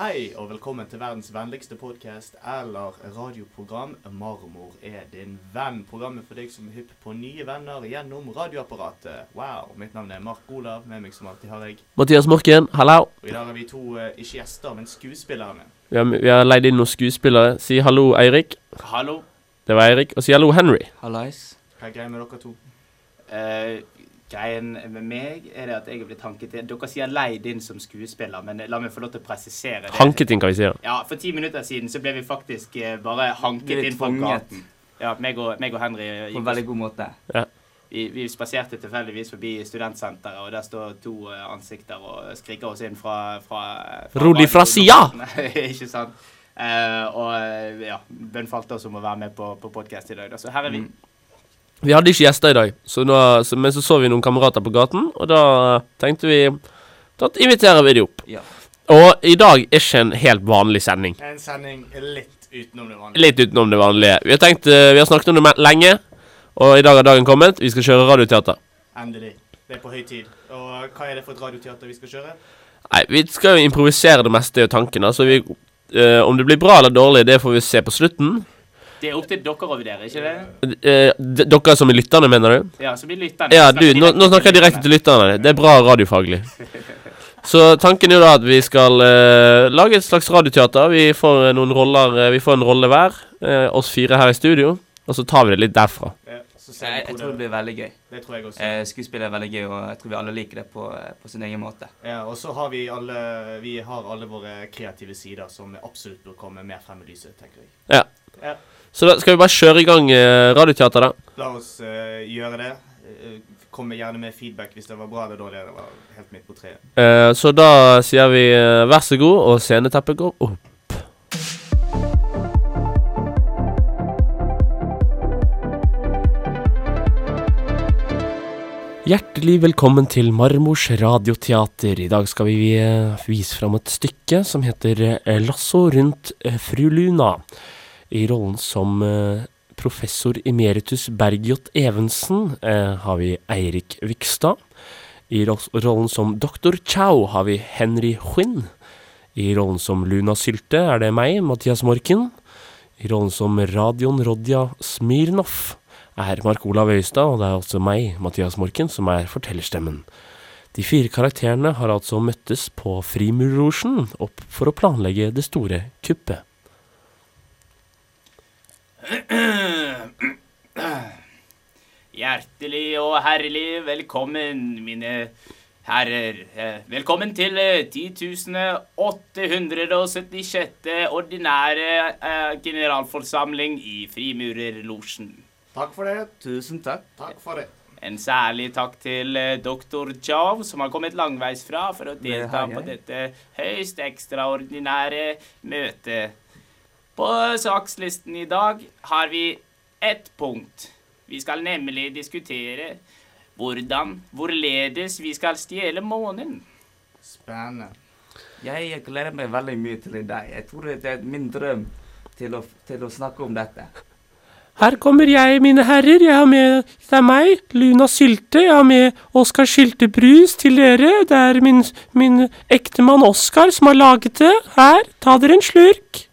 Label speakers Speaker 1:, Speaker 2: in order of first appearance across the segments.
Speaker 1: Hei og velkommen til verdens vennligste podkast eller radioprogram. Marmor er din venn. Programmet for deg som er hypp på nye venner gjennom radioapparatet. Wow. Mitt navn er Mark Olav. Med meg som alltid har jeg.
Speaker 2: Mathias Morken, hallo.
Speaker 1: Og i dag har vi to eh, ikke gjester, men skuespillerne.
Speaker 2: Vi har, vi har leid inn noen skuespillere. Si hallo, Eirik.
Speaker 3: Hallo.
Speaker 2: Det var Eirik. Og si hallo, Henry.
Speaker 4: Hallais.
Speaker 1: Hva er greia med dere to?
Speaker 3: Eh, greien med meg er det at jeg er blitt hanket inn. Dere sier leid inn som skuespiller, men la meg få lov til å presisere det.
Speaker 2: Hanket inn, kan vi si. da.
Speaker 3: Ja, for ti minutter siden så ble vi faktisk eh, bare hanket
Speaker 4: Ble
Speaker 3: inn fra
Speaker 4: tvunget.
Speaker 3: gaten. Ja, meg og, meg og Henry eh,
Speaker 4: På en
Speaker 3: gikk,
Speaker 4: veldig god måte.
Speaker 3: vi, vi spaserte tilfeldigvis forbi studentsenteret, og der står to eh, ansikter og skriker oss inn fra, fra, fra
Speaker 2: Rolig fra sida!
Speaker 3: Nei, Ikke sant? Eh, og eh, ja, bønnfalt oss om å være med på, på podkast i dag, da. Så her er
Speaker 1: Mm.
Speaker 3: vi.
Speaker 2: Vi hadde ikke gjester i dag, så nå, så, men så så vi noen kamerater på gaten, og da eh, tenkte vi Da inviterer vi de opp.
Speaker 4: Ja.
Speaker 2: Og i dag er ikke en helt vanlig sending.
Speaker 1: En sending litt utenom det vanlige.
Speaker 2: Litt utenom det vanlige. Vi har, tenkt, eh, vi har snakket om det me- lenge, og i dag har dagen kommet. Vi skal kjøre radioteater.
Speaker 1: Endelig. Det er på høy tid. Og hva er det for et radioteater vi skal kjøre?
Speaker 2: Nei, vi skal jo improvisere det meste av tankene, så vi, eh, om det blir bra eller dårlig, det får vi se på slutten.
Speaker 3: Det er opp til dere å vurdere, ikke det?
Speaker 2: Eh, d- dere som er lytterne, mener du?
Speaker 3: Ja, så blir lytterne
Speaker 2: Ja, du, nå, nå snakker jeg direkte til lytterne. Det er bra radiofaglig. Så tanken er jo da at vi skal eh, lage et slags radioteater. Vi får eh, noen roller eh, Vi får en rolle hver, eh, oss fire her i studio, og så tar vi det litt derfra.
Speaker 1: Ja, så
Speaker 4: Jeg,
Speaker 1: ser vi
Speaker 4: jeg
Speaker 1: hvor
Speaker 4: tror det
Speaker 1: det
Speaker 4: blir veldig gøy.
Speaker 1: Det tror jeg også.
Speaker 4: Eh, skuespill er veldig gøy, og jeg tror vi alle liker det på, eh, på sin egen måte.
Speaker 1: Ja, og så har vi alle Vi har alle våre kreative sider som absolutt bør komme mer frem i lyset, tenker jeg.
Speaker 2: Ja.
Speaker 1: Ja.
Speaker 2: Så da skal vi bare kjøre i gang eh, radioteater, da.
Speaker 1: La oss eh, gjøre det. Eh, Kom gjerne med feedback hvis det var bra eller dårlig. Det var helt midt på treet.
Speaker 2: Eh, så da sier vi eh, vær så god, og sceneteppet går opp. Hjertelig velkommen til Marmors radioteater. I dag skal vi eh, vise fram et stykke som heter eh, 'Lasso rundt eh, fru Luna', i rollen som eh, professor emeritus Bergljot Evensen eh, har vi Eirik Vikstad. I ros- rollen som doktor Chow har vi Henry Huin. I rollen som Luna Sylte er det meg, Mathias Morken. I rollen som Radion Rodja Smirnov er Mark Olav Øystad, og det er også meg, Mathias Morken, som er fortellerstemmen. De fire karakterene har altså møttes på Frimurlosjen opp for å planlegge det store kuppet.
Speaker 3: Hjertelig og herlig velkommen, mine herrer. Eh, Velkommen til eh, 10.876. ordinære eh, generalforsamling i Frimurerlosjen.
Speaker 1: Takk for det.
Speaker 4: Tusen takk.
Speaker 1: Takk for det.
Speaker 3: En særlig takk til eh, doktor Chow, som har kommet langveisfra for å delta
Speaker 4: har jeg.
Speaker 3: på dette høyst ekstraordinære møtet. På sakslisten i dag har vi ett punkt. Vi skal nemlig diskutere hvordan, hvorledes vi skal stjele månen.
Speaker 1: Spennende.
Speaker 4: Jeg gleder meg veldig mye til i dag. Jeg tror det er min drøm til å, til å snakke om dette.
Speaker 2: Her kommer jeg, mine herrer. Jeg har med Det er meg, Luna Sylte. Jeg har med Oskar Syltebrus til dere. Det er min, min ektemann Oskar som har laget det. Her, ta dere en slurk.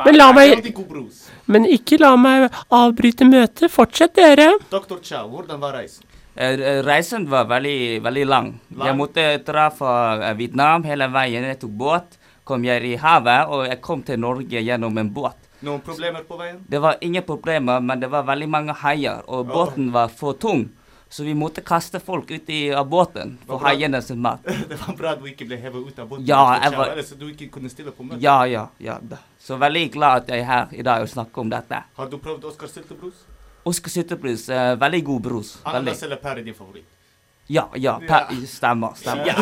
Speaker 2: Men la meg
Speaker 1: God brus.
Speaker 2: Men ikke la meg avbryte møtet. Fortsett, dere.
Speaker 1: Doktor Chow, hvordan var reisen?
Speaker 4: Eh, re- Reisen var veldig, veldig lang.
Speaker 1: Lang?
Speaker 4: Jeg måtte dra fra eh, Vietnam hele veien. Jeg tok båt, kom jeg i havet, og jeg kom til Norge gjennom en båt.
Speaker 1: Noen problemer på veien?
Speaker 4: Det var ingen problemer, men det var veldig mange haier, og båten var for tung. Så vi måtte kaste folk ut i, av båten for
Speaker 1: Hva bra.
Speaker 4: haiene sin mat.
Speaker 1: Det var bra at du ikke ble hevet ut av båten.
Speaker 4: Ja,
Speaker 1: Dr.
Speaker 4: jeg
Speaker 1: Chow,
Speaker 4: var-
Speaker 1: Ellers du ikke kunne stille på møtet.
Speaker 4: Ja, ja, ja. da. Så veldig glad at jeg er her i dag og snakker om dette.
Speaker 1: Har du prøvd Oscar Syltebrus?
Speaker 4: Oskar Sytterbrus, eh, veldig god brus.
Speaker 1: Ananas
Speaker 4: Veldig.
Speaker 1: eller pære er din favoritt?
Speaker 4: Ja, ja, per, stemmer. stemmer.
Speaker 3: Ja,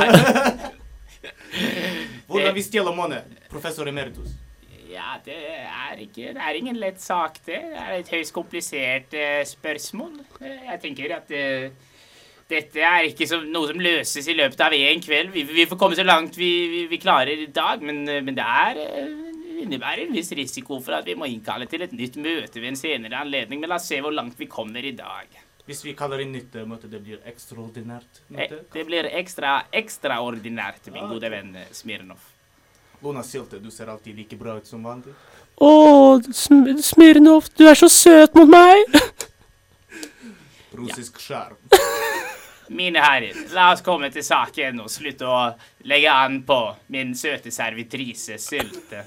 Speaker 1: Hvordan vi stjeler måned, professor emeritus.
Speaker 3: ja, det er ikke Det er ingen lett sak, det. Det er et høyst komplisert eh, spørsmål. Eh, Jeg tenker at eh, dette er ikke som, noe som løses i løpet av én kveld. Vi, vi får komme så langt vi, vi, vi klarer i dag, men, eh, men det er eh, innebærer en viss risiko for at vi må innkalle til et nytt møte ved en senere anledning. Men la oss se hvor langt vi kommer i dag.
Speaker 1: Hvis vi kaller inn nytt eh, møte, det blir ekstraordinært
Speaker 3: Eh,
Speaker 1: møte.
Speaker 3: Det blir ekstra ekstraordinært, min
Speaker 1: Ah,
Speaker 3: gode venn eh, Smirnov.
Speaker 1: Lona Silte, du ser alltid like bra ut som vanlig.
Speaker 2: Å, sm Smirnov, du er så søt mot meg!
Speaker 1: Russisk sjarm.
Speaker 3: Mine herrer, la oss komme til saken og slutte å legge an på min søte servitrise Sylte.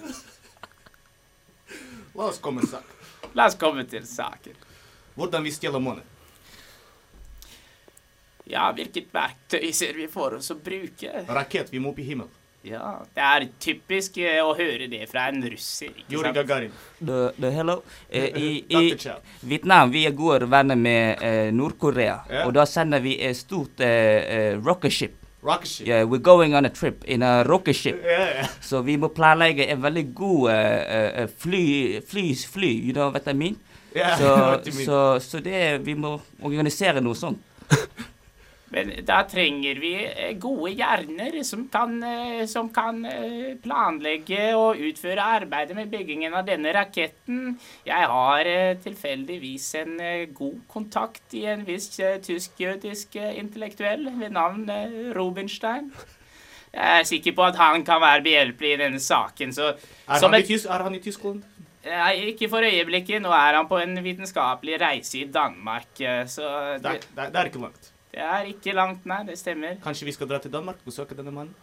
Speaker 1: La oss komme sak.
Speaker 3: La oss komme til saken.
Speaker 1: Hvordan vi stjeler måned.
Speaker 3: Ja, hvilket verktøy ser vi for oss å bruke?
Speaker 1: Rakett, vi må opp i himmelen.
Speaker 3: Ja, det er typisk eh, å høre det fra en russer, ikke
Speaker 1: Juri
Speaker 3: sant?
Speaker 1: Gagarin.
Speaker 4: The, the hello. Eh, I,
Speaker 1: Dr.
Speaker 4: i
Speaker 1: Chow.
Speaker 4: Vietnam vi er gode venner med eh, Nord-Korea.
Speaker 1: Ja.
Speaker 4: Og da sender vi et stort eh, eh, rocket ship.
Speaker 1: Rocket ship. Eh,
Speaker 4: Yeah, we're going on a trip in a rocket ship.
Speaker 1: Yeah.
Speaker 4: Så vi må planlegge en veldig god eh, eh, eh, fly, flys fly, you know what I mean?
Speaker 1: Yeah,
Speaker 4: Så,
Speaker 1: what you mean.
Speaker 4: så, så det Vi må organisere noe sånt.
Speaker 3: Men da trenger vi eh, gode hjerner som kan, eh, som kan eh, planlegge og utføre arbeidet med byggingen av denne raketten. Jeg har eh, tilfeldigvis en eh, god kontakt i en viss eh, tysk-jødisk eh, intellektuell ved navn eh, Rubinstein. Jeg er sikker på at han kan være behjelpelig i denne saken, så
Speaker 1: Er,
Speaker 3: som
Speaker 1: han i
Speaker 3: et-
Speaker 1: Tys er han i Tyskland?
Speaker 3: Nei, ikke for øyeblikket. Nå er han på en vitenskapelig reise i Danmark, eh, så
Speaker 1: Det,
Speaker 3: det,
Speaker 1: er- det, er- det er ikke langt.
Speaker 3: det er ikke langt, nei. Det stemmer.
Speaker 1: Kanskje vi skal dra til Danmark og besøke denne mannen?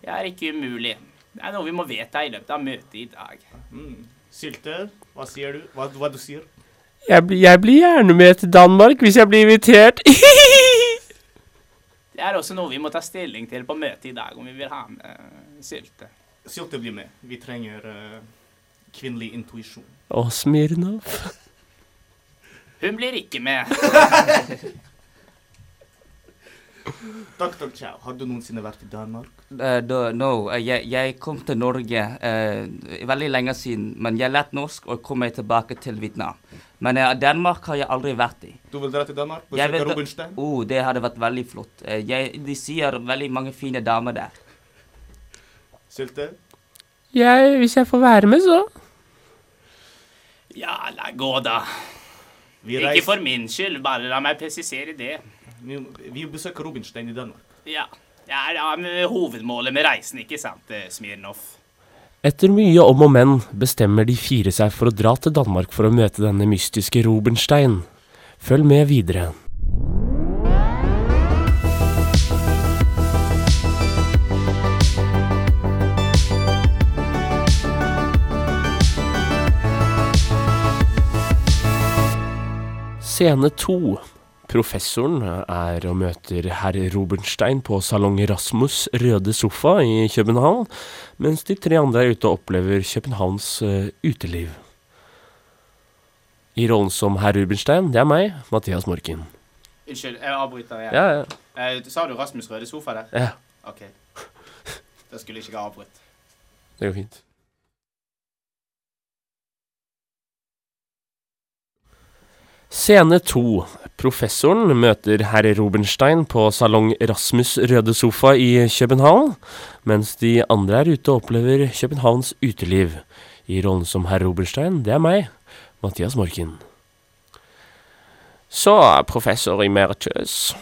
Speaker 3: Det er ikke umulig. Det er noe vi må vedta i løpet av møtet i dag.
Speaker 1: Mm. Sylte, hva sier du? Hva, hva du sier?
Speaker 2: Jeg, bli- jeg blir gjerne med til Danmark hvis jeg blir invitert.
Speaker 3: Det er også noe vi må ta stilling til på møtet i dag, om vi vil ha med eh, sylte.
Speaker 1: Sylte blir med. Vi trenger eh, kvinnelig intuisjon.
Speaker 2: Å, Smirnov.
Speaker 3: Hun blir ikke med.
Speaker 1: Dr. Chow, har du noensinne vært i Danmark?
Speaker 4: Eh, da, no, eh, jeg, jeg kom til Norge eh, veldig lenge siden, men jeg lærte norsk og kom meg tilbake til Vietnam. Men eh, Danmark har jeg aldri vært i.
Speaker 1: Du vil dra til Danmark?
Speaker 4: Jeg
Speaker 1: Besøke
Speaker 4: vet-
Speaker 1: Rubinstein?
Speaker 4: Oh, det hadde vært veldig flott. Eh, jeg, de sier veldig mange fine damer der.
Speaker 1: Sylte?
Speaker 2: Jeg, hvis jeg får være med, så.
Speaker 3: Ja, la gå, da.
Speaker 1: Vi
Speaker 3: Ikke for min skyld, bare la meg presisere det.
Speaker 1: Vi, vi besøker Rubinstein i Danmark.
Speaker 3: Ja. Det er da med hovedmålet med reisen, ikke sant, eh, Smirnov?
Speaker 2: Etter mye om og men bestemmer de fire seg for å dra til Danmark for å møte denne mystiske Rubenstein. Følg med videre. Scene to. Professoren er og møter herr Rubenstein på Salong Rasmus' røde sofa i København mens de tre andre er ute og opplever Københavns eh, uteliv. I rollen som herr Rubenstein, det er meg, Mathias Morken.
Speaker 3: Unnskyld, jeg avbryter igjen.
Speaker 2: Ja, ja.
Speaker 3: Eh, sa du Rasmus Røde Sofa der?
Speaker 2: ja
Speaker 3: OK. Da skulle jeg ikke ha avbrutt.
Speaker 2: det går fint. Scene to. Professoren møter herr Rubenstein på Salong Rasmus røde sofa i København, mens de andre er ute og opplever Københavns uteliv. I rollen som herr Rubenstein, det er meg, Mathias Morken. Så, professor emeritus,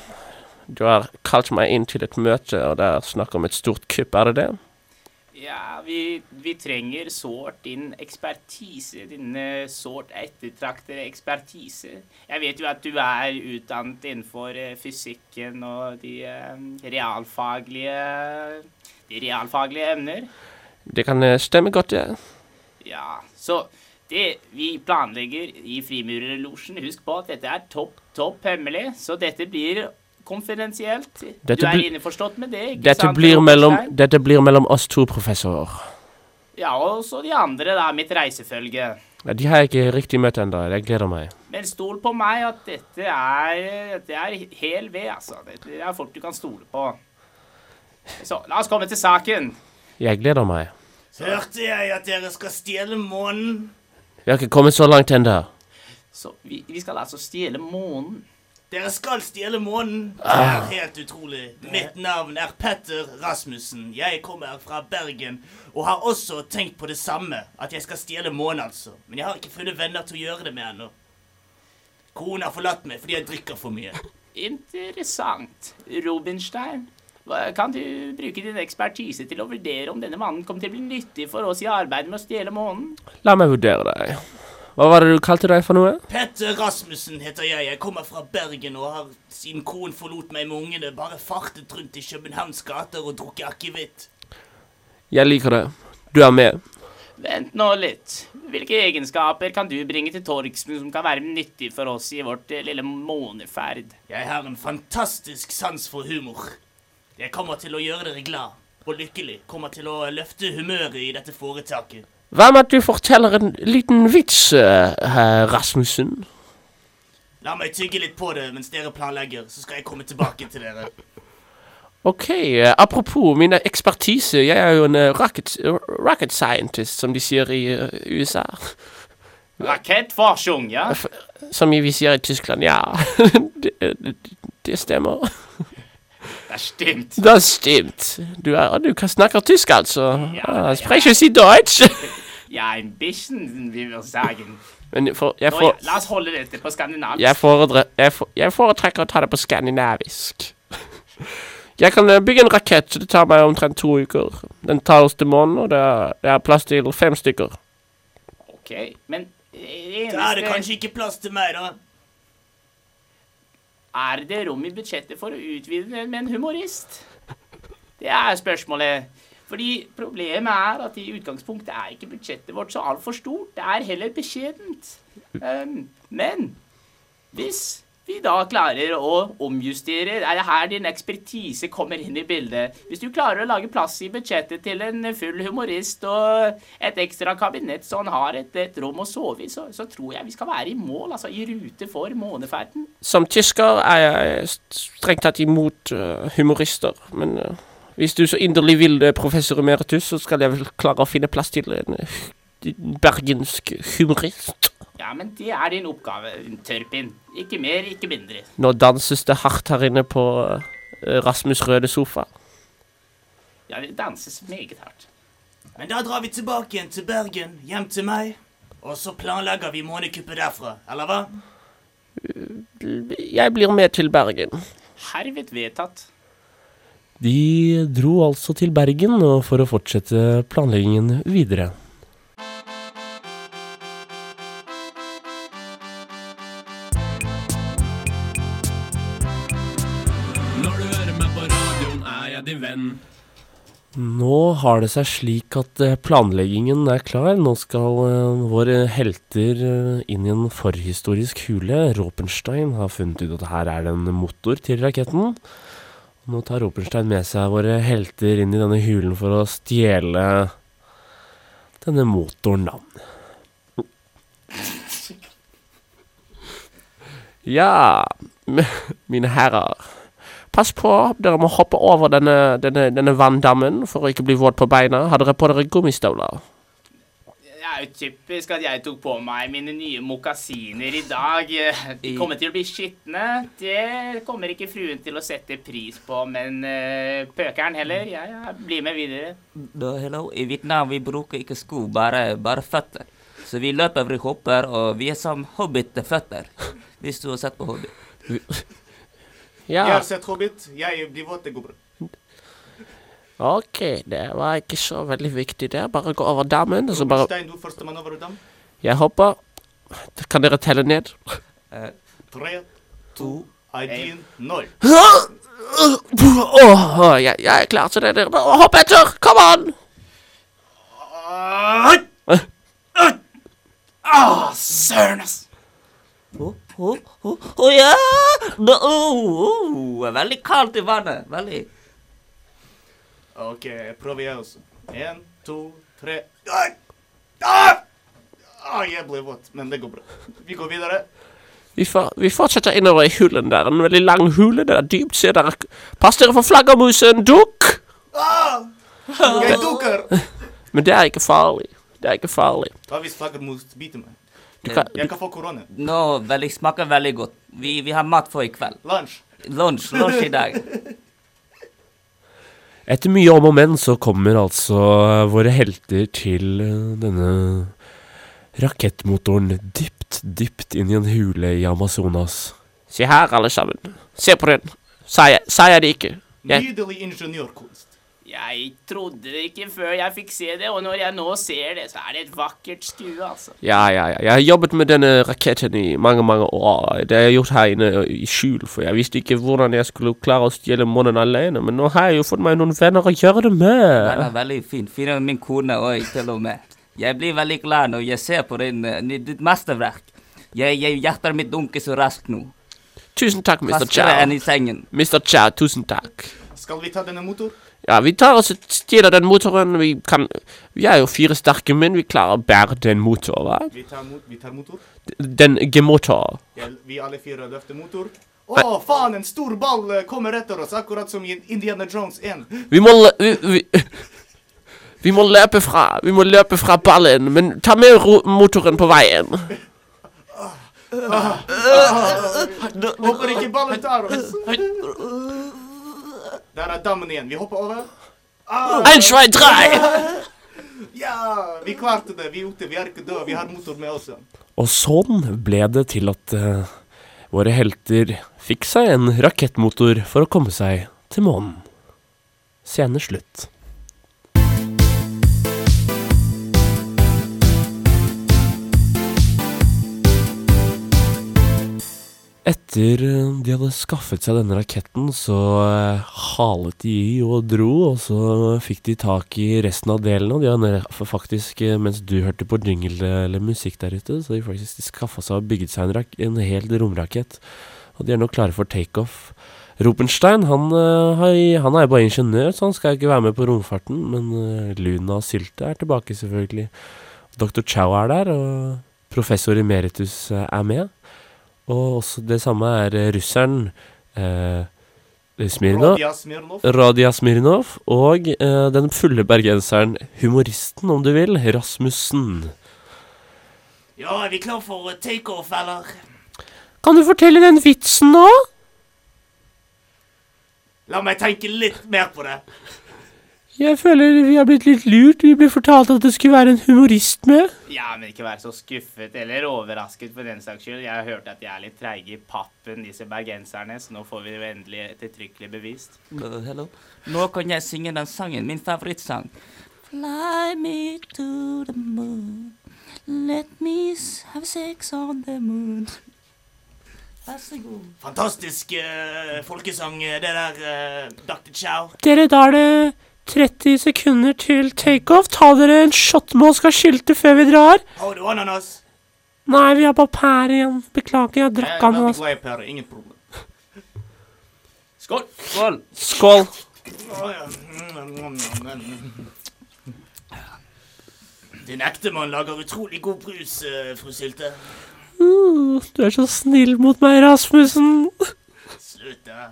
Speaker 2: du har kalt meg inn til et møte, og det er snakk om et stort kupp, er det det?
Speaker 3: Ja, vi, vi trenger sårt din ekspertise. Din eh, sårt ettertraktede ekspertise. Jeg vet jo at du er utdannet innenfor eh, fysikken og de eh, realfaglige De realfaglige emner.
Speaker 2: Det kan eh, stemme godt, det.
Speaker 3: Ja, så det vi planlegger i Frimurerlosjen Husk på at dette er topp, topp hemmelig, så dette blir konfidensielt.
Speaker 2: Dette
Speaker 3: du er
Speaker 2: blir-
Speaker 3: innforstått med det, ikke
Speaker 2: Dette
Speaker 3: sant?
Speaker 2: blir, mellom,
Speaker 3: Rosenstein?
Speaker 2: dette blir mellom oss to, professor.
Speaker 3: Ja, og så de andre, da. Mitt reisefølge.
Speaker 2: Ja, De har jeg ikke riktig møtt ennå. Jeg gleder meg.
Speaker 3: Men stol på meg at dette er, dette er hel ved, altså. Dette er folk du kan stole på. Så la oss komme til saken.
Speaker 2: Jeg gleder meg.
Speaker 1: Hørte jeg at dere skal stjele månen?
Speaker 2: Vi har ikke kommet så langt ennå.
Speaker 3: Så vi, vi skal altså stjele månen.
Speaker 1: Dere skal stjele månen. Det er helt utrolig. Mitt navn er Petter Rasmussen. Jeg kommer fra Bergen og har også tenkt på det samme. At jeg skal stjele månen, altså. Men jeg har ikke funnet venner til å gjøre det med ennå. Kona har forlatt meg fordi jeg drikker for mye.
Speaker 3: Interessant. Rubinstein, hva- kan du bruke din ekspertise til å vurdere om denne mannen kommer til å bli nyttig for oss i arbeidet med å stjele månen?
Speaker 2: La meg vurdere deg. Hva var det du kalte deg for noe?
Speaker 1: Petter Rasmussen heter jeg. Jeg kommer fra Bergen og har siden konen forlot meg med ungene, bare fartet rundt i Københavns gater og drukket akevitt.
Speaker 2: Jeg liker det. Du er med.
Speaker 3: Vent nå litt. Hvilke egenskaper kan du bringe til Torgsen som kan være nyttig for oss i vårt eh, lille måneferd?
Speaker 1: Jeg har en fantastisk sans for humor. Jeg kommer til å gjøre dere glad og lykkelig. Kommer til å løfte humøret i dette foretaket.
Speaker 2: Hva med at du forteller en liten vits, eh, herr Rasmussen?
Speaker 1: La meg tygge litt på det mens dere planlegger, så skal jeg komme tilbake til dere.
Speaker 2: Ok, eh, apropos min ekspertise. Jeg er jo en eh, rocket, rocket scientist, som de sier i eh, USA.
Speaker 3: Rakettforskjung, ja?
Speaker 2: Som vi sier i Tyskland, ja. det, øh, det, det stemmer.
Speaker 3: Det er stemt.
Speaker 2: Det stimmt. Du, er, du kan snakker tysk, altså.
Speaker 3: Ja,
Speaker 2: Ja,
Speaker 3: ja.
Speaker 2: ah, sprecher Sie Deutsch?
Speaker 3: Ja, ein bisschen, vi vil sagen.
Speaker 2: Men for, jeg,
Speaker 3: Nå,
Speaker 2: for,
Speaker 3: ja, la oss holde dette på skandinavisk.
Speaker 2: jeg, foredre, jeg, for, jeg foretrekker å ta det på skandinavisk. Jeg kan eh, bygge en rakett, så det tar meg omtrent to uker. Den tar oss til månen, og det er, det er plass til fem stykker.
Speaker 3: Ok, men eh,
Speaker 1: Da er det
Speaker 3: eneste
Speaker 1: kanskje ikke plass til meg, da.
Speaker 3: Er det rom i budsjettet for å utvide det med en humorist? Det er spørsmålet. Fordi problemet er at i utgangspunktet er ikke budsjettet vårt så altfor stort. Det er heller beskjedent. Ehm, men hvis vi da klarer å omjustere Er det her din ekspertise kommer inn i bildet? Hvis du klarer å lage plass i budsjettet til en full humorist og et ekstra kabinett så han har et, et rom å sove i, så, så tror jeg vi skal være i mål, altså i rute for måneferden.
Speaker 2: Som tysker er jeg st- strengt tatt imot eh, humorister, men eh, hvis du så inderlig vil det, professor emeritus, så skal jeg vel klare å finne plass til en eh, bergensk humorist.
Speaker 3: Ja, men det er din oppgave, Tørpin. Ikke mer, ikke mindre.
Speaker 2: Nå danses det hardt her inne på eh, Rasmus Røde sofa.
Speaker 3: Ja, det danses meget hardt.
Speaker 1: Men da drar vi tilbake igjen til Bergen, hjem til meg. Og så planlegger vi månekuppet derfra, eller hva?
Speaker 2: Jeg blir med til Bergen.
Speaker 3: Herved vedtatt.
Speaker 2: De dro altså til Bergen og for å fortsette planleggingen videre.
Speaker 5: Når du hører meg på radioen, er jeg din venn.
Speaker 2: Nå har det seg slik at eh, planleggingen er klar. Nå skal eh, våre helter eh, inn i en forhistorisk hule. Ropenstein har funnet ut at her er det en motor til raketten. Nå tar Ropenstein med seg våre helter inn i denne hulen for å stjele denne motoren, da. Ja, mine herrer. Pass på, dere må hoppe over denne, denne, denne vanndammen for å ikke bli våt på beina. Har dere på dere gummistøvler?
Speaker 3: Det er jo typisk at jeg tok på meg mine nye mokasiner i dag. De
Speaker 4: I-
Speaker 3: kommer til å bli skitne. Det kommer ikke fruen til å sette pris på, men eh, pøkeren heller. Ja, ja, bli med videre.
Speaker 4: Da, hello. I Vietnam vi bruker ikke sko, bare, bare føtter. Så vi løper, vi hopper, og vi er som hobbit-føtter. Hvis du har sett på Hobbit.
Speaker 2: Ja.
Speaker 1: sett Hobbit. Jeg blir våt. Det går bra.
Speaker 2: Ok, det var ikke så veldig viktig der. Bare gå over dammen, og så bare
Speaker 1: du førstemann over dam.
Speaker 2: Jeg hopper. Kan dere telle ned?
Speaker 4: Eh,
Speaker 1: Tre,
Speaker 4: to
Speaker 1: én, null.
Speaker 2: Åh, jeg, jeg er klar til det. Dere må hoppe etter! Kom an!
Speaker 3: Å,
Speaker 1: Ah,
Speaker 3: søren, ass!
Speaker 4: Å å, å, å, ja! Da, å, å, oh. Veldig kaldt i vannet. Veldig.
Speaker 1: Ok, jeg prøver jeg også. En, to, tre. Ah! Ai, jeg ble våt, men det går bra. Vi går videre.
Speaker 5: Vi, for, vi fortsetter innover i hulen der. En veldig lang hule. Det er dypt. Se der. Pass dere for flaggermusen! Dukk!
Speaker 1: Ah! Jeg dukker!
Speaker 5: Men det er ikke farlig. Det er ikke farlig.
Speaker 1: Hva hvis flaggermus biter meg?
Speaker 5: Du kan,
Speaker 1: Jeg kan få korona.
Speaker 4: Nå veldig, smaker veldig godt. Vi, vi har mat for i kveld.
Speaker 1: Lunsj.
Speaker 4: Lunsj, lunsj i dag.
Speaker 5: Etter mye om og men så kommer altså eh, våre helter til eh, denne rakettmotoren dypt, dypt inn i en hule i Amazonas. Se her, alle sammen. Se på den. Sa jeg, sa jeg det ikke? Jeg,
Speaker 1: Nydelig ingeniørkunst.
Speaker 3: Jeg trodde det ikke før jeg fikk se det, og når jeg nå ser det, så er det et vakkert skue, altså.
Speaker 5: ja, ja, ja. Jeg har jobbet med denne raketten i mange, mange år. Det har jeg gjort her inne ø, i skjul, for jeg visste ikke hvordan jeg skulle klare å stjele månen alene. Men nå har jeg jo fått meg noen venner å gjøre det
Speaker 4: Den
Speaker 5: med.
Speaker 4: er veldig fin. Fin av min kone òg, til og med. Jeg blir veldig glad når jeg ser på din, eh, ditt mesterverk. Jeg, jeg hjertet mitt dunker så raskt nå.
Speaker 5: Tusen takk, Mr.
Speaker 4: Raskere enn
Speaker 5: Chow.
Speaker 4: i sengen.
Speaker 5: Mr. Chow, tusen takk.
Speaker 1: Skal vi ta denne motor?
Speaker 5: Ja, vi tar oss et sted av den motoren. Vi kan Vi er jo fire sterke, men vi klarer å bære den motoren, hva?
Speaker 1: Vi tar, mot, vi tar motor.
Speaker 5: D- Den gemotor.
Speaker 1: Jeg, vi alle fire løfter motor. Å, faen! En stor ball eh, kommer etter oss, akkurat som i Indiana Jones 1.
Speaker 5: Vi må lø... Vi, vi, vi må løpe fra Vi må løpe fra ballen, men ta med ro motoren på veien.
Speaker 1: Håper ikke ballen tar oss. Der er dammen igjen. Vi hopper over.
Speaker 5: Ein, zwei, drei!
Speaker 1: Ja! Vi klarte det. Vi er ute. Vi er ikke døde. Vi har motor med oss.
Speaker 5: Og sånn ble det til at eh, våre helter fikk seg en rakettmotor for å komme seg til månen. Scene slutt. Etter eh, de hadde skaffet seg denne raketten, så eh, halet de i og dro, og så fikk de tak i resten av delene. Og de hadde nede- for faktisk, eh, mens du hørte på jingle eh, eller musikk der ute, så de faktisk de skaffa seg og bygget seg en, rak en hel romrakett. Og de er nå klare for takeoff. Ropenstein han, eh, har- han er jo bare ingeniør, så han skal ikke være med på romfarten. Men eh, Luna og Sylte er tilbake, selvfølgelig. Dr. Chow er der, og professor emeritus eh, er med. Og også det samme er eh, russeren eh, Smirnov.
Speaker 1: Rodja Smirnov.
Speaker 5: Radia Smirnov og eh, den fulle bergenseren, humoristen om du vil, Rasmussen.
Speaker 3: Ja, er vi klar for takeoff, eller?
Speaker 5: Kan du fortelle den vitsen nå?
Speaker 1: La meg tenke litt mer på det.
Speaker 5: Jeg føler vi har blitt litt lurt. Vi ble fortalt at det skulle være en humorist med.
Speaker 3: Ja, men ikke vær så skuffet eller overrasket for den saks skyld. Jeg har hørt at de er litt treige i pappen, disse bergenserne, så nå får vi det jo endelig ettertrykkelig bevist.
Speaker 4: Uh, hello. Nå kan jeg synge den sangen, min favorittsang. Fly me to the moon. Let me s- have sex on the moon. Vær så god.
Speaker 1: Fantastisk eh, folkesang, eh, det der, eh, Dr. Chow.
Speaker 5: Dere, da er det 30 sekunder til takeoff. Ta dere en shot med Oskar Sylte før vi drar.
Speaker 1: Har du ananas?
Speaker 5: Nei, vi har bare pære igjen. Beklager, jeg
Speaker 1: Jeg
Speaker 5: drakk
Speaker 1: er veldig
Speaker 5: ananas.
Speaker 1: glad i pærer. Ingen problem.
Speaker 4: Skål. Skål.
Speaker 5: Skål.
Speaker 1: Å, ja. Mm, mm, mm, mm. Din ektemann lager utrolig god brus, eh, fru Sylte.
Speaker 5: Uh, du er så snill mot meg, Rasmussen.
Speaker 1: Slutt, da.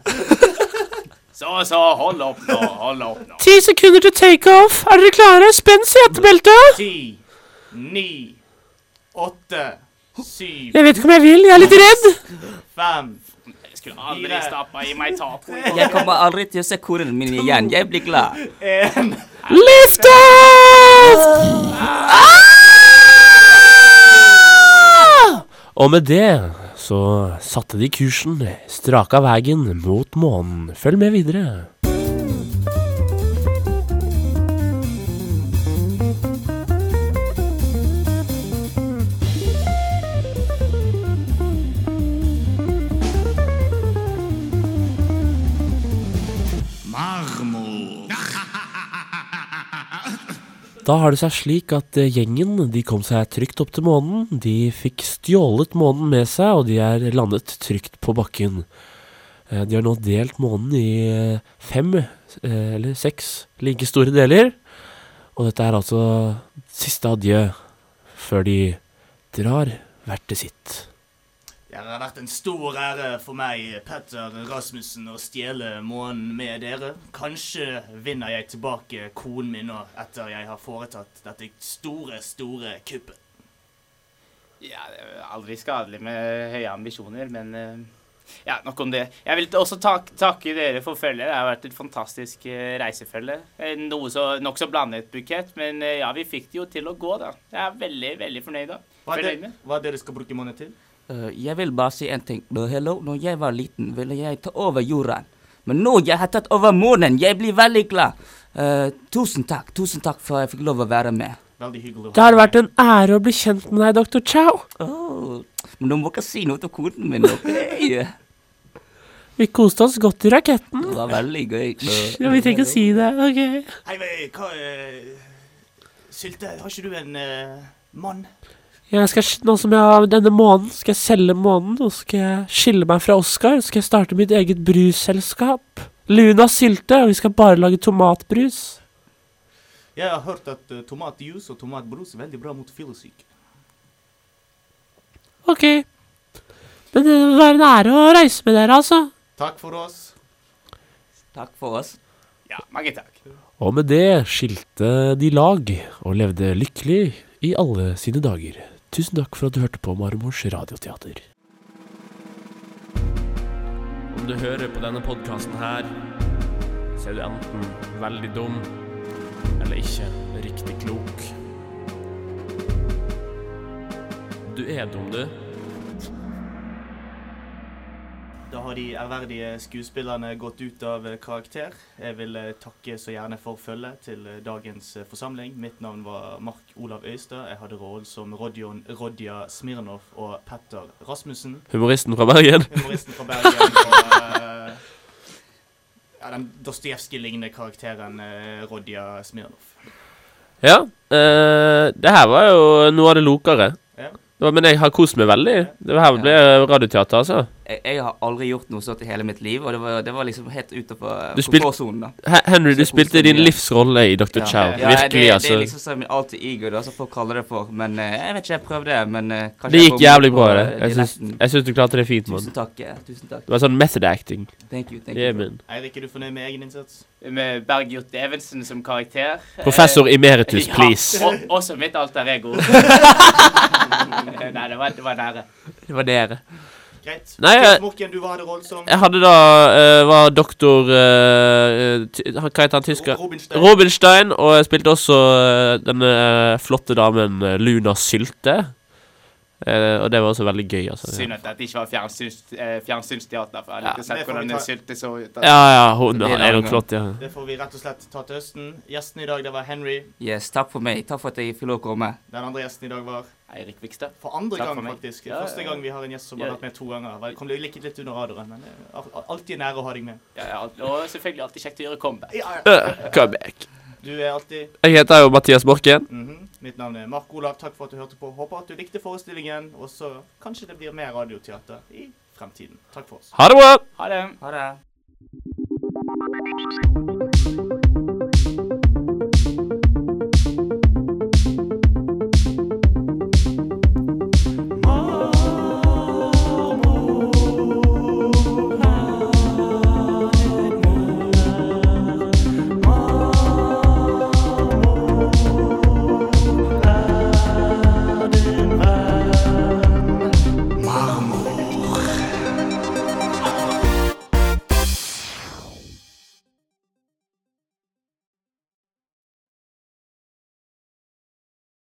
Speaker 3: Så, så, hold opp nå, hold opp nå.
Speaker 5: Ti sekunder til takeoff. Er dere klare? Spenn setebeltet.
Speaker 1: Ti, ni, åtte, syv,
Speaker 5: Jeg vet ikke om jeg vil. Jeg er litt redd.
Speaker 1: fem
Speaker 3: Jeg skulle aldri stappa i meg taco.
Speaker 4: Jeg kommer aldri til å se konen min igjen. Jeg blir glad.
Speaker 5: Lift off! Ah! Og med det så satte de kursen, straka veien mot månen. Følg med videre. Da har det seg slik at eh, gjengen de kom seg trygt opp til månen. De fikk stjålet månen med seg, og de er landet trygt på bakken. Eh, De har nå delt månen i eh, fem eh, eller seks like store deler. Og dette er altså siste adjø før de drar hvert til sitt.
Speaker 1: Det har vært en stor ære for meg, Petter Rasmussen, å stjele månen med dere. Kanskje vinner jeg tilbake konen min nå, etter jeg har foretatt dette store, store kuppet.
Speaker 3: Ja, det er aldri skadelig med høye ambisjoner, men eh, ja, nok om det. Jeg vil også tak takke dere for følget. Det har vært et fantastisk eh, reisefølge. Eh, Noe så nokså blandet bukett, men eh, ja, vi fikk det jo til å gå, da. Jeg er veldig, veldig fornøyd da.
Speaker 1: Hva er
Speaker 3: Fornøyd
Speaker 1: det,
Speaker 3: med.
Speaker 1: hva er det dere skal bruke månen til?
Speaker 4: Eh, jeg vil bare si en ting. Da, hello, når jeg var liten, ville jeg ta over jorden. Men nå jeg har tatt over månen. Jeg blir veldig glad. Eh, tusen takk. Tusen takk for at jeg fikk lov å være med.
Speaker 1: Veldig hyggelig. å
Speaker 2: Det
Speaker 1: ha
Speaker 2: har
Speaker 1: deg
Speaker 2: vært en ære å bli kjent med deg, Dr. Chow.
Speaker 4: Åh, Oh, men du må ikke si noe til koden min. ok?
Speaker 2: Vi koste oss godt i raketten.
Speaker 4: Det var veldig gøy. Eh,
Speaker 2: Ja, vi trenger ikke å si det. ok.
Speaker 1: med. Hei, hei, hva eh, Sylte, har ikke du en eh, mann?
Speaker 2: Jeg skal, sk- nå som jeg har denne måneden, skal jeg selge måneden, og så skal jeg skille meg fra Oskar. Så skal jeg starte mitt eget brusselskap. Luna Sylte, og vi skal bare lage tomatbrus.
Speaker 1: Jeg har hørt at eh, tomatjuice og tomatbrus er veldig bra mot fyllesyke.
Speaker 2: Ok. Men eh, det var en ære å reise med dere, altså.
Speaker 1: Takk for oss.
Speaker 4: Takk for oss.
Speaker 3: Ja, mange takk.
Speaker 2: Og med det skilte de lag, og levde lykkelig i alle sine dager. Tusen takk for at du hørte på Marmors Radioteater.
Speaker 5: Om du hører på denne podkasten her, så er du enten veldig dum eller ikke riktig klok. Du er dum, du.
Speaker 1: Da har de ærverdige skuespillerne gått ut av eh, karakter. Jeg vil eh, takke så gjerne for følget til eh, dagens eh, forsamling. Mitt navn var Mark Olav Øystad. Jeg hadde rollen som Rodion Rodja Smirnov og Petter Rasmussen.
Speaker 2: Humoristen fra Bergen.
Speaker 1: Humoristen fra Bergen og eh, ja, den Dostojevskij-lignende karakteren eh, Rodja Smirnov.
Speaker 2: Ja, eh, det her var jo noe av det lokere.
Speaker 1: Ja.
Speaker 2: Det var, men jeg har kost meg veldig. Det her ble radioteater, altså.
Speaker 4: Jeg, jeg har aldri gjort noe sånt i hele mitt liv, og det var, det var liksom helt utenfor
Speaker 2: Du
Speaker 4: på
Speaker 2: spilte-
Speaker 4: gråsonen. da.
Speaker 2: He- Henry, du
Speaker 4: Så koselig,
Speaker 2: spilte din
Speaker 4: ja.
Speaker 2: livsrolle i Dr. Chow.
Speaker 4: Ja, det,
Speaker 2: Virkelig,
Speaker 4: Det
Speaker 2: altså.
Speaker 4: er liksom som min alter ego, da, som folk kaller det for. Men eh, jeg vet ikke, jeg prøvde, men eh, kanskje
Speaker 2: Det
Speaker 4: jeg
Speaker 2: gikk
Speaker 4: bommet
Speaker 2: jævlig
Speaker 4: på,
Speaker 2: bra, det.
Speaker 4: eh,
Speaker 2: Jeg syns,
Speaker 4: dialekten.
Speaker 2: jeg syns du klarte det fint, mann.
Speaker 4: Tusen takk. eh, Tusen takk.
Speaker 2: Det var sånn method acting.
Speaker 4: Thank you. thank
Speaker 2: Yeah,
Speaker 4: you.
Speaker 2: man.
Speaker 1: Eirik, er du fornøyd med egen innsats?
Speaker 3: Med Bergjot Evensen som karakter. Eh,
Speaker 2: Professor emeritus,
Speaker 3: ja,
Speaker 2: please.
Speaker 3: og- også mitt alter ego. Nei, det var, det var nære.
Speaker 2: Det var dere.
Speaker 1: Greit.
Speaker 2: Nei, jeg-
Speaker 1: Morken, du hva hadde rollen som?
Speaker 2: Jeg hadde da eh, var doktor eh, ty- Hva heter han tysker?
Speaker 1: Robinstein.
Speaker 2: Robinstein, og jeg spilte også eh, denne eh, flotte damen eh, Luna Sylte. Eh, og det var også veldig gøy, altså.
Speaker 3: Synd at dette ikke var fjernsyns, eh, fjernsynsteater, for jeg
Speaker 2: Ja,
Speaker 3: hadde ikke
Speaker 1: det
Speaker 3: sett
Speaker 1: får vi
Speaker 3: hvordan
Speaker 1: ta-
Speaker 3: det sylte så ut. da.
Speaker 2: Ja, ja, hun
Speaker 4: Det blir
Speaker 2: er
Speaker 4: lang
Speaker 2: nok
Speaker 4: gang.
Speaker 2: flott, ja.
Speaker 1: Det får vi rett og slett ta til høsten. Gjesten i dag, det var Henry.
Speaker 4: Yes, takk for meg. Takk for at jeg fikk lov å komme.
Speaker 1: Den andre gjesten i dag var
Speaker 3: Eirik Vikstad.
Speaker 1: For andre
Speaker 3: Takk
Speaker 1: gang,
Speaker 3: for meg.
Speaker 1: faktisk.
Speaker 3: Ja, ja,
Speaker 1: Første
Speaker 3: ja.
Speaker 1: gang vi har en gjest som har
Speaker 3: Ja.
Speaker 1: vært med to ganger. Vel, Kom deg litt, litt under radaren, men det er al- alltid en ære å ha deg med.
Speaker 3: Ja, ja, og selvfølgelig alltid kjekt å gjøre comeback.
Speaker 2: Eh, Come back.
Speaker 1: Du er alltid
Speaker 2: Jeg heter jo Mathias Morken.
Speaker 1: mhm. Mitt navn er Mark Olav. Takk for at du hørte på. Håper at du likte forestillingen, og så kanskje det blir mer radioteater i fremtiden. Takk for oss.
Speaker 2: Ha det bra!
Speaker 3: Ha det.
Speaker 4: Ha det.